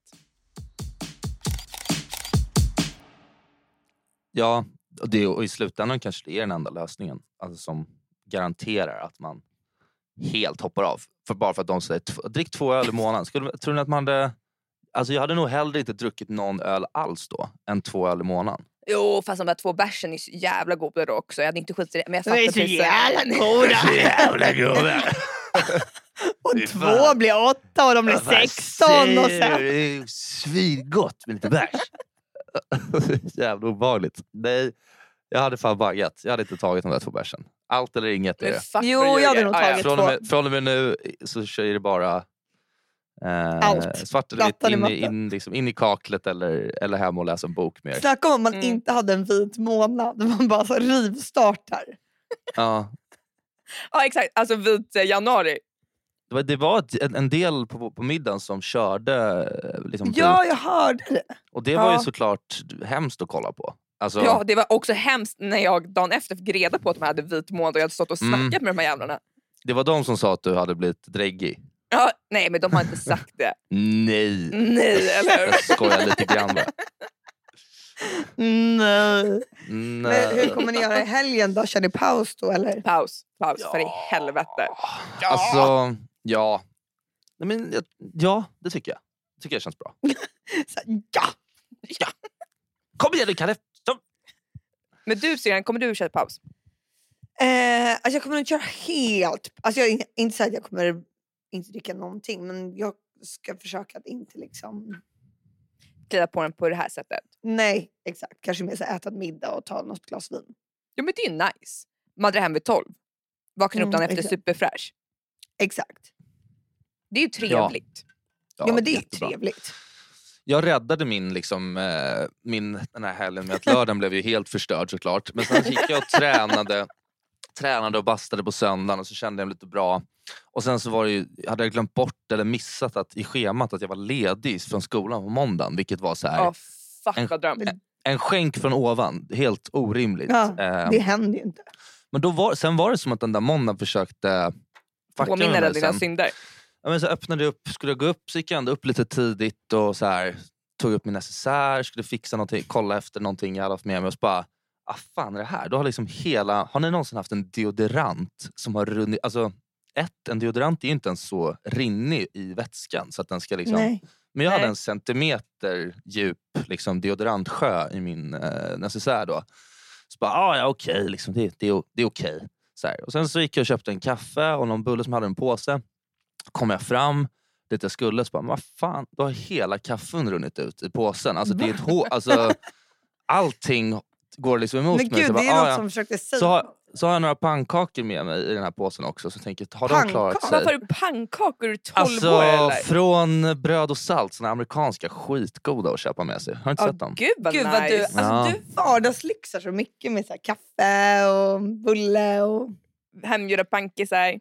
[SPEAKER 2] Ja, och, det, och i slutändan kanske det är den enda lösningen alltså som garanterar att man helt hoppar av. För bara för att de säger "Tv- drick två öl i månaden. Skulle, tror ni att man hade... Alltså jag hade nog hellre inte druckit någon öl alls då än två öl i månaden.
[SPEAKER 3] Jo, fast de där två bärsen är så jävla goda då också. Jag hade inte skitit i det. Men jag
[SPEAKER 1] De är
[SPEAKER 3] fattar
[SPEAKER 1] så
[SPEAKER 3] precis.
[SPEAKER 1] jävla goda!
[SPEAKER 2] Jävla gubbe! Fy
[SPEAKER 1] Och
[SPEAKER 2] fan.
[SPEAKER 1] två blir åtta och de blir sexton och sen...
[SPEAKER 2] Svingott med lite bärs. Jävla obehagligt. Nej, jag hade fan baggat. Jag hade inte tagit de där två bärsen. Allt eller inget är
[SPEAKER 3] Men
[SPEAKER 2] det.
[SPEAKER 3] fuck vad
[SPEAKER 1] Jo,
[SPEAKER 3] du
[SPEAKER 1] jag hade
[SPEAKER 3] ljuger.
[SPEAKER 1] nog
[SPEAKER 3] Ah, ja.
[SPEAKER 1] tagit.
[SPEAKER 2] Från och, med, från och med nu så kör det bara eh,
[SPEAKER 1] Allt.
[SPEAKER 2] svart eller vitt
[SPEAKER 1] Plattan i
[SPEAKER 2] in, i-
[SPEAKER 1] matten.
[SPEAKER 2] in, liksom, in i kaklet eller, eller hem och läsa en bok mer.
[SPEAKER 1] Snacka om att man
[SPEAKER 3] Mm.
[SPEAKER 1] inte hade en vit månad. Man bara så rivstartar.
[SPEAKER 2] Ja.
[SPEAKER 3] Ja, exakt. Alltså vit eh, januari.
[SPEAKER 2] Det var, det var ett, en- en del på, på middagen som körde eh, liksom,
[SPEAKER 1] Ja,
[SPEAKER 2] vit.
[SPEAKER 1] jag hörde det.
[SPEAKER 2] och det var
[SPEAKER 3] ja.
[SPEAKER 2] ju såklart hemskt att kolla på. Alltså,
[SPEAKER 3] Ja, det var också hemskt när jag dagen efter fick reda på att de hade vit månad och jag hade stått och snackat
[SPEAKER 2] Mm.
[SPEAKER 3] med de här jävlarna.
[SPEAKER 2] Det var de som sa att du hade blivit dräggig.
[SPEAKER 3] Ja, nej, men de har inte sagt det.
[SPEAKER 2] Nej!
[SPEAKER 3] Nej, eller hur?
[SPEAKER 2] Jag skojar lite grann bara.
[SPEAKER 1] Mm, Nej. Men
[SPEAKER 2] Nej.
[SPEAKER 1] hur kommer ni göra i helgen då? Kör ni paus då eller?
[SPEAKER 3] Paus, paus för i
[SPEAKER 2] Ja.
[SPEAKER 3] helvete.
[SPEAKER 2] Alltså, Ja, Nej, men, jag- ja det tycker jag. Det tycker jag känns bra.
[SPEAKER 1] Så här, ja!
[SPEAKER 2] Kom igen nu Kalle! Så-
[SPEAKER 3] Men du syrran, kommer du köra paus?
[SPEAKER 1] Eh, alltså jag kommer inte köra helt. Alltså jag är inte så att jag kommer inte dricka någonting men jag ska försöka att inte liksom...
[SPEAKER 3] Glida på den på det här sättet.
[SPEAKER 1] Nej, exakt. Kanske mer så här, äta en middag och ta något glas vin.
[SPEAKER 3] Jo men det är ju nice. Man drar hem vid tolv. Vaknar
[SPEAKER 1] Mm,
[SPEAKER 3] upp dagen efter
[SPEAKER 1] exakt.
[SPEAKER 3] superfräsch.
[SPEAKER 1] Exakt.
[SPEAKER 3] Det är ju trevligt.
[SPEAKER 1] Ja, men det är ju
[SPEAKER 2] jättebra.
[SPEAKER 1] trevligt.
[SPEAKER 2] Jag räddade min, liksom, eh, min den här helgen med att lördagen blev ju helt förstörd såklart. Men sen gick jag och tränade, tränade och bastade på söndagen och så kände jag mig lite bra. Och sen så var det ju, hade jag glömt bort eller missat att, i schemat att jag var ledig från skolan på måndagen. Vilket var så här,
[SPEAKER 3] Ja, fuck
[SPEAKER 2] En-
[SPEAKER 3] vad dröm.
[SPEAKER 2] en skänk från ovan. Helt orimligt.
[SPEAKER 1] Ja,
[SPEAKER 2] Eh,
[SPEAKER 1] Det händer ju inte.
[SPEAKER 2] Men då var, sen var det som att den där måndagen försökte fucka med
[SPEAKER 3] Påminner
[SPEAKER 2] mig
[SPEAKER 3] dig om dina
[SPEAKER 2] sen.
[SPEAKER 3] synder.
[SPEAKER 2] Ja, men så öppnade jag upp, skulle jag gå upp så gick jag ändå upp lite tidigt och så här, tog upp min necessär, skulle fixa någonting, kolla efter någonting jag hade haft med mig och så bara, ah, fan är det här? Då har, liksom hela, har ni någonsin haft en deodorant som har runnit, alltså ett, en deodorant är ju inte ens så rinnig i vätskan så att den ska liksom,
[SPEAKER 1] Nej.
[SPEAKER 2] men jag hade
[SPEAKER 3] Nej.
[SPEAKER 2] en centimeter djup liksom, deodorantsjö i min eh, necessär då. Så bara, ah, ja okej, liksom, det, det, är- det är okej. Så här. Och sen så gick jag och köpte en kaffe och någon bulle som hade en påse. Kom jag fram dit jag skulle så bara, vad fan, då har hela kaffen runnit ut i påsen. Alltså, det är ett hår, alltså, allting går liksom emot
[SPEAKER 1] Men
[SPEAKER 2] mig.
[SPEAKER 1] gud, det
[SPEAKER 2] så, bara,
[SPEAKER 1] är något
[SPEAKER 2] ja.
[SPEAKER 1] som försökte säga.
[SPEAKER 2] så, har, så har jag några pannkakor med mig i den här påsen också. Så tänker jag, har de klarat
[SPEAKER 1] Pannkakor?
[SPEAKER 2] sig?
[SPEAKER 3] Varför har du pannkakor? Är du 12
[SPEAKER 2] Alltså
[SPEAKER 3] år eller?
[SPEAKER 2] från bröd och salt, såna amerikanska skitgoda att köpa med sig. Har du inte
[SPEAKER 3] Ja,
[SPEAKER 2] sett dem?
[SPEAKER 3] gud vad
[SPEAKER 1] Gud
[SPEAKER 3] nice.
[SPEAKER 1] vad du, alltså,
[SPEAKER 2] Ja.
[SPEAKER 1] du vardagslyxar så mycket med så här, kaffe och bulle och...
[SPEAKER 3] Hemgjorda pankisar.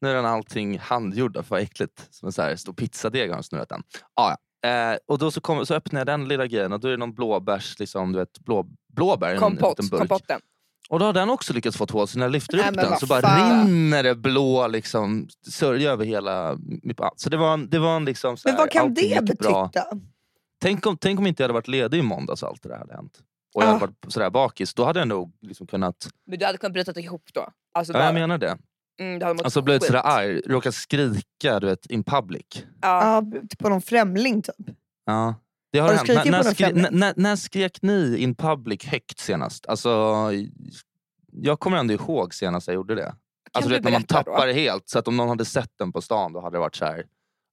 [SPEAKER 2] Nu är den allting handgjord, för vad äckligt. Som en så här stor pizzadeg har de snurrat den. Ah, ja. eh, och då så, kommer- så öppnar jag den lilla grejen och då är det någon blåbärs, liksom, du vet, blå, blåbär i en
[SPEAKER 3] Kompott,
[SPEAKER 2] liten burk.
[SPEAKER 3] kompotten.
[SPEAKER 2] Och då har den också lyckats få ett hål så när jag lyfter
[SPEAKER 1] Nej,
[SPEAKER 2] upp
[SPEAKER 1] men
[SPEAKER 2] den
[SPEAKER 1] vad
[SPEAKER 2] så bara
[SPEAKER 1] fan.
[SPEAKER 2] rinner det blå liksom, sörja över hela mitt ah, Så det var en, det var en liksom, så
[SPEAKER 1] Men
[SPEAKER 2] här,
[SPEAKER 1] vad kan
[SPEAKER 2] allting
[SPEAKER 1] det
[SPEAKER 2] gick bra.
[SPEAKER 1] betyda?
[SPEAKER 2] Tänk om, tänk om inte jag hade varit ledig i måndags och allt det där hade hänt. Och jag
[SPEAKER 1] Ja.
[SPEAKER 2] hade varit sådär bakis. Då hade jag nog liksom kunnat...
[SPEAKER 3] Men du hade kunnat bryta ihop då. Alltså,
[SPEAKER 2] Ja,
[SPEAKER 3] bara,
[SPEAKER 2] jag menar det.
[SPEAKER 3] mm, du hade mått
[SPEAKER 2] Alltså blivit
[SPEAKER 3] skit.
[SPEAKER 2] sådär arg, råkat skrika du vet, in public.
[SPEAKER 3] Ja.
[SPEAKER 1] Ja, på någon främling typ.
[SPEAKER 2] Ja. Det har,
[SPEAKER 1] Har du
[SPEAKER 2] hänt.
[SPEAKER 1] skrikit
[SPEAKER 2] När, när,
[SPEAKER 1] på någon
[SPEAKER 2] skri,
[SPEAKER 1] främling?
[SPEAKER 2] när- när, när skrek ni in public högt senast? Alltså, jag kommer ändå ihåg senast jag gjorde det. Alltså, du
[SPEAKER 3] du
[SPEAKER 2] vet, när man
[SPEAKER 3] berätta då?
[SPEAKER 2] tappar det helt. Så att om någon hade sett den på stan då hade det varit så här.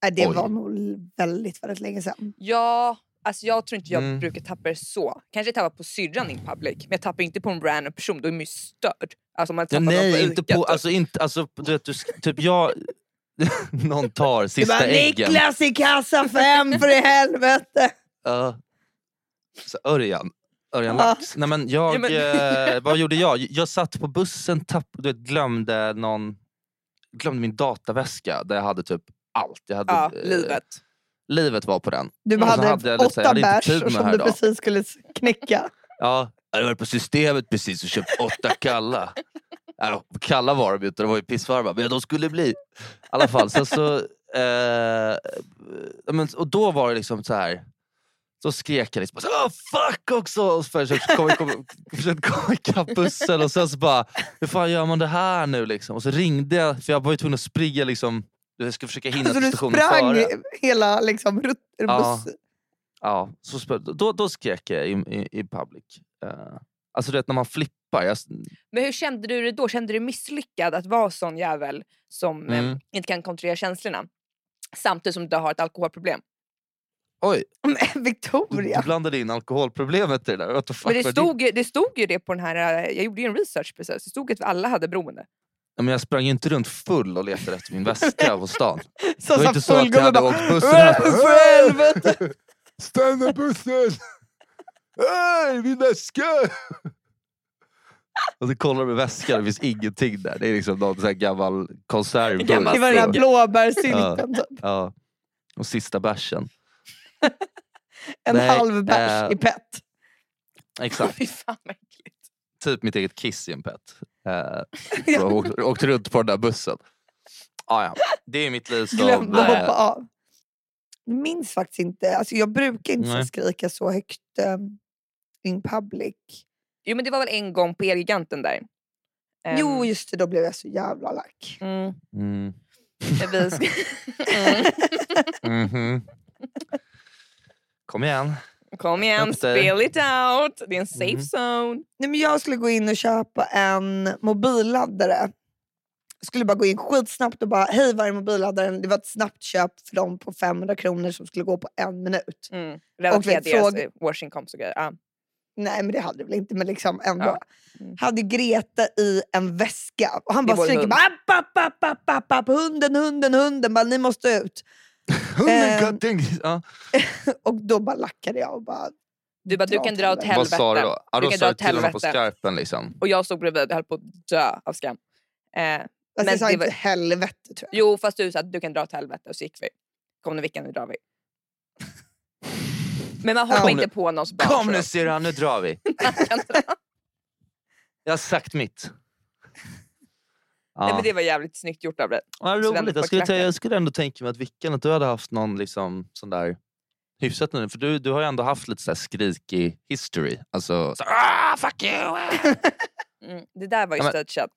[SPEAKER 1] Nej, det
[SPEAKER 2] Oj.
[SPEAKER 1] var nog väldigt, väldigt länge sedan.
[SPEAKER 3] Ja, alltså jag tror inte jag
[SPEAKER 2] Mm.
[SPEAKER 3] brukar tappa det så. Kanske jag tappar på syrran in public, men jag tappar inte på en random person. Då är man ju störd. Alltså om man
[SPEAKER 2] Ja,
[SPEAKER 3] tappar någon
[SPEAKER 2] nej,
[SPEAKER 3] på
[SPEAKER 2] inte
[SPEAKER 3] Ica,
[SPEAKER 2] på...
[SPEAKER 3] typ.
[SPEAKER 2] Alltså, inte, alltså, du vet, du, sk- typ jag... någon tar sista
[SPEAKER 1] det var
[SPEAKER 2] äggen.
[SPEAKER 1] Niklas i kassa fem för i helvete!
[SPEAKER 2] Ja. Så Örjan. Örjan
[SPEAKER 1] Ja.
[SPEAKER 2] Lax. Nej, men jag,
[SPEAKER 3] Ja, men-
[SPEAKER 2] Eh, vad gjorde jag? Jag satt på bussen, tapp, du vet, glömde, någon, glömde min dataväska där jag hade typ allt. Jag hade,
[SPEAKER 3] ja,
[SPEAKER 2] eh,
[SPEAKER 3] livet.
[SPEAKER 2] livet var på den.
[SPEAKER 1] Du
[SPEAKER 2] Och så
[SPEAKER 1] hade,
[SPEAKER 2] hade jag lite så här, jag
[SPEAKER 1] åtta
[SPEAKER 2] hade
[SPEAKER 1] bärs
[SPEAKER 2] inte tid med
[SPEAKER 1] och som
[SPEAKER 2] här
[SPEAKER 1] du
[SPEAKER 2] idag.
[SPEAKER 1] precis skulle knäcka.
[SPEAKER 2] Ja. Jag hade varit på systemet precis och köpt åtta kalla. Ja, kalla var de ju inte, de var ju pissvarma. Men de skulle bli. I alla fall, sen så... Eh, ja, men, och då var det liksom så här... Då skrek jag liksom så, oh, fuck också! Och så försökte komma, komma, försökte komma ikapp bussen och sen så bara, hur fan gör man det här nu? Liksom. Och så ringde jag, för jag var ju tvungen att springa. Liksom, jag skulle försöka hinna
[SPEAKER 1] Så
[SPEAKER 2] till
[SPEAKER 1] du
[SPEAKER 2] stationen
[SPEAKER 1] sprang
[SPEAKER 2] före.
[SPEAKER 1] hela liksom, rutt,
[SPEAKER 2] Ja.
[SPEAKER 1] buss.
[SPEAKER 2] Ja, så spö- då, då skrek jag i, i, i public. Eh, alltså du vet när man flippar. Jag,
[SPEAKER 3] Men hur kände du det då? Kände du dig misslyckad att vara sån jävel som eh,
[SPEAKER 2] Mm.
[SPEAKER 3] inte kan kontrollera känslorna? Samtidigt som du har ett alkoholproblem.
[SPEAKER 2] oj,
[SPEAKER 1] Men
[SPEAKER 2] du, du
[SPEAKER 1] Victoria!
[SPEAKER 2] blandade in alkoholproblemet i det där. What the fuck
[SPEAKER 3] Men det
[SPEAKER 2] var
[SPEAKER 3] stod, ju- det stod ju det på den här, eh, jag gjorde ju en research precis, det stod att alla hade beroende.
[SPEAKER 2] Ja, men jag sprang ju inte runt full och letade efter min väska på stan.
[SPEAKER 1] Så,
[SPEAKER 2] Det var
[SPEAKER 1] så
[SPEAKER 2] inte så att jag
[SPEAKER 1] fullgubbe
[SPEAKER 2] hade
[SPEAKER 1] bara... "Äh,
[SPEAKER 2] åkt bussen och jag bara,
[SPEAKER 1] "Åh, för helvete!"
[SPEAKER 2] Stanna bussen! Hej, min väska! Och så kollar de i väskan, det finns ingenting där. Det är liksom någon sån här gammal konservburk.
[SPEAKER 1] Det var den där blåbärssylten, typ.
[SPEAKER 2] ja. Och sista bärsen.
[SPEAKER 1] en
[SPEAKER 2] Nej,
[SPEAKER 1] halv bärs
[SPEAKER 2] eh,
[SPEAKER 1] i pett.
[SPEAKER 2] Exakt,
[SPEAKER 3] Fy fan vad äckligt.
[SPEAKER 2] typ mitt eget kiss i en pet. Eh,
[SPEAKER 1] Jag
[SPEAKER 2] och åkt, åkt runt på den där bussen. Ah, ja. Det är mitt liv som...
[SPEAKER 1] glömde
[SPEAKER 2] eh,
[SPEAKER 1] hoppa av. Jag minns faktiskt inte. Alltså, jag brukar inte så
[SPEAKER 2] Nej.
[SPEAKER 1] skrika så högt eh, in public.
[SPEAKER 3] Jo men det var väl en gång på Elgiganten där. Ehm,
[SPEAKER 1] Jo, just det. Då blev jag så jävla lack.
[SPEAKER 3] mm.
[SPEAKER 2] mm.
[SPEAKER 3] Vi ska...
[SPEAKER 2] Mhm. Kom igen.
[SPEAKER 3] Ehm, Kom igen,
[SPEAKER 2] Upp dig.
[SPEAKER 3] spill it out. Det är en safe
[SPEAKER 2] Mhm.
[SPEAKER 3] zone.
[SPEAKER 1] Nej, men jag skulle gå in och köpa en mobilladdare. Jag skulle bara gå in skitsnabbt och bara, hej var är mobilladdaren? Det var ett snabbt köp för dem på 500 kronor som skulle gå på en minut.
[SPEAKER 3] Mm. Relatera
[SPEAKER 1] vet,
[SPEAKER 3] deras
[SPEAKER 1] fråga-
[SPEAKER 3] eh, årsinkomst och grejer. Ah.
[SPEAKER 1] Nej men det hade det väl inte men liksom ändå.
[SPEAKER 3] Ja. Mm.
[SPEAKER 1] Hade Greta i en väska och han
[SPEAKER 3] I
[SPEAKER 1] bara
[SPEAKER 3] vår
[SPEAKER 1] skriker
[SPEAKER 3] hund.
[SPEAKER 1] bara, app, app, app, app, app, app, hunden, hunden, hunden, bara, ni måste ut.
[SPEAKER 2] Hunden
[SPEAKER 1] Ehm.
[SPEAKER 2] götting. Ja.
[SPEAKER 1] Och då bara lackade jag och bara, alltså,
[SPEAKER 3] Du bara, du kan dra åt
[SPEAKER 1] helvete.
[SPEAKER 2] Vad sa du då? Ja,
[SPEAKER 3] Du
[SPEAKER 2] då
[SPEAKER 3] kan
[SPEAKER 2] sa
[SPEAKER 3] dra
[SPEAKER 2] du
[SPEAKER 3] åt
[SPEAKER 2] till honom på
[SPEAKER 3] helvete.
[SPEAKER 2] skarpen. Liksom.
[SPEAKER 3] Och jag stod bredvid och höll på att dö av skam. Eh,
[SPEAKER 1] Alltså,
[SPEAKER 3] Men
[SPEAKER 1] jag sa
[SPEAKER 3] det
[SPEAKER 1] inte
[SPEAKER 3] var-
[SPEAKER 1] helvete tror jag.
[SPEAKER 3] jo, fast du sa att du kan dra åt helvete och så gick vi. Kom nu Vickan, nu drar vi. Men man hoppar
[SPEAKER 2] Kom
[SPEAKER 3] inte
[SPEAKER 2] nu.
[SPEAKER 3] på någons barn.
[SPEAKER 2] Kom
[SPEAKER 3] så
[SPEAKER 2] nu
[SPEAKER 3] då.
[SPEAKER 2] syrran, nu drar vi. Jag har sagt mitt. Ja.
[SPEAKER 3] Nej, men det var jävligt snyggt gjort av dig.
[SPEAKER 2] Vad
[SPEAKER 3] Så den
[SPEAKER 2] roligt.
[SPEAKER 3] får
[SPEAKER 2] Jag skulle,
[SPEAKER 3] klacken.
[SPEAKER 2] tänka, jag skulle ändå tänka mig att Vickan, att du hade haft någon liksom, sån där hyfsat nu. För du, du har ju ändå haft lite så här skrikig history. Alltså, så, ah, fuck you! ah."
[SPEAKER 3] Mm. Det där var ju
[SPEAKER 2] Ja, men-
[SPEAKER 3] stageat.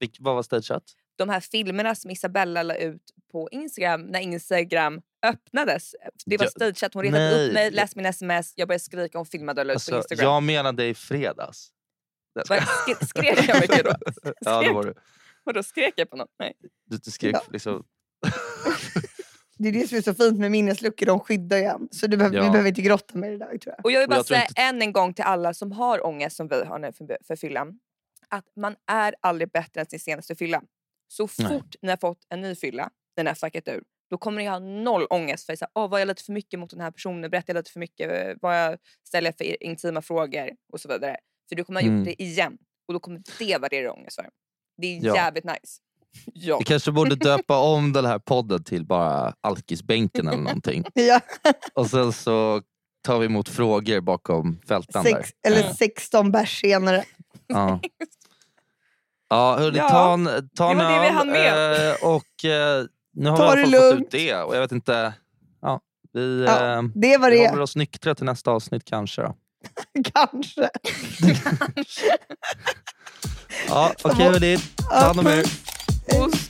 [SPEAKER 2] Vilk- Vad var stageat?
[SPEAKER 3] De här filmerna som Isabella la ut på Instagram när Instagram öppnades. Det var
[SPEAKER 2] Ja,
[SPEAKER 3] stageat. Hon retade upp
[SPEAKER 2] nej.
[SPEAKER 3] mig, läste min sms, jag började skrika hon filmade och la ut på
[SPEAKER 2] Alltså,
[SPEAKER 3] Instagram.
[SPEAKER 2] jag menade i fredags. Jag
[SPEAKER 3] Vad-
[SPEAKER 2] skojar.
[SPEAKER 3] sk- Skrek jag mycket då?
[SPEAKER 2] ja, det var du.
[SPEAKER 3] Vadå skrek jag på något? Nej.
[SPEAKER 2] Du, du skrek
[SPEAKER 1] Ja.
[SPEAKER 2] liksom...
[SPEAKER 1] Det är det som är så fint med minnesluckor, de skyddar ju en. Så du behöver, vi
[SPEAKER 2] Ja.
[SPEAKER 1] behöver inte grotta med det där tror jag.
[SPEAKER 3] Och jag vill
[SPEAKER 2] Och
[SPEAKER 3] bara
[SPEAKER 2] jag tror
[SPEAKER 3] säga än en gång till alla som har ångest som vi har nu för, för fyllan. Att man är aldrig bättre än sin senaste fylla. Så fort
[SPEAKER 2] Nej.
[SPEAKER 3] ni har fått en ny fylla, den har fuckat ur, då kommer ni ha noll ångest. För så här, "Åh, var jag lite för mycket mot den här personen? Berättade jag lite för mycket? Eh, Vad jag ställer jag för intima frågor? Och så vidare. För du kommer ha gjort
[SPEAKER 2] Mm.
[SPEAKER 3] det igen. Och då kommer det vara det du har ångest för. Det är
[SPEAKER 2] Ja.
[SPEAKER 3] jävligt nice. Ja.
[SPEAKER 2] Vi kanske borde döpa om den här podden till bara Alkisbänken eller någonting.
[SPEAKER 1] Ja,
[SPEAKER 2] Och sen så tar vi emot frågor bakom fältan
[SPEAKER 1] sex,
[SPEAKER 2] där.
[SPEAKER 1] eller
[SPEAKER 2] Ja.
[SPEAKER 1] 16 bärs senare.
[SPEAKER 2] Ja. Ja, hörni,
[SPEAKER 3] Ja,
[SPEAKER 2] ta en, ta
[SPEAKER 3] det
[SPEAKER 2] en
[SPEAKER 3] var det vi
[SPEAKER 2] öl,
[SPEAKER 3] hann med.
[SPEAKER 2] eh, och eh, nu har
[SPEAKER 1] Ta
[SPEAKER 2] vi
[SPEAKER 1] det
[SPEAKER 2] i alla fall fått
[SPEAKER 1] lugnt.
[SPEAKER 2] ut det. Och jag vet inte, ja, vi,
[SPEAKER 1] Ja,
[SPEAKER 2] eh,
[SPEAKER 1] Det var
[SPEAKER 2] vi
[SPEAKER 1] det,
[SPEAKER 2] håller oss nyktra till nästa avsnitt kanske. Då.
[SPEAKER 1] kanske.
[SPEAKER 2] Ja, Okej hörni, ta hand om er.
[SPEAKER 1] Puss.
[SPEAKER 3] Puss.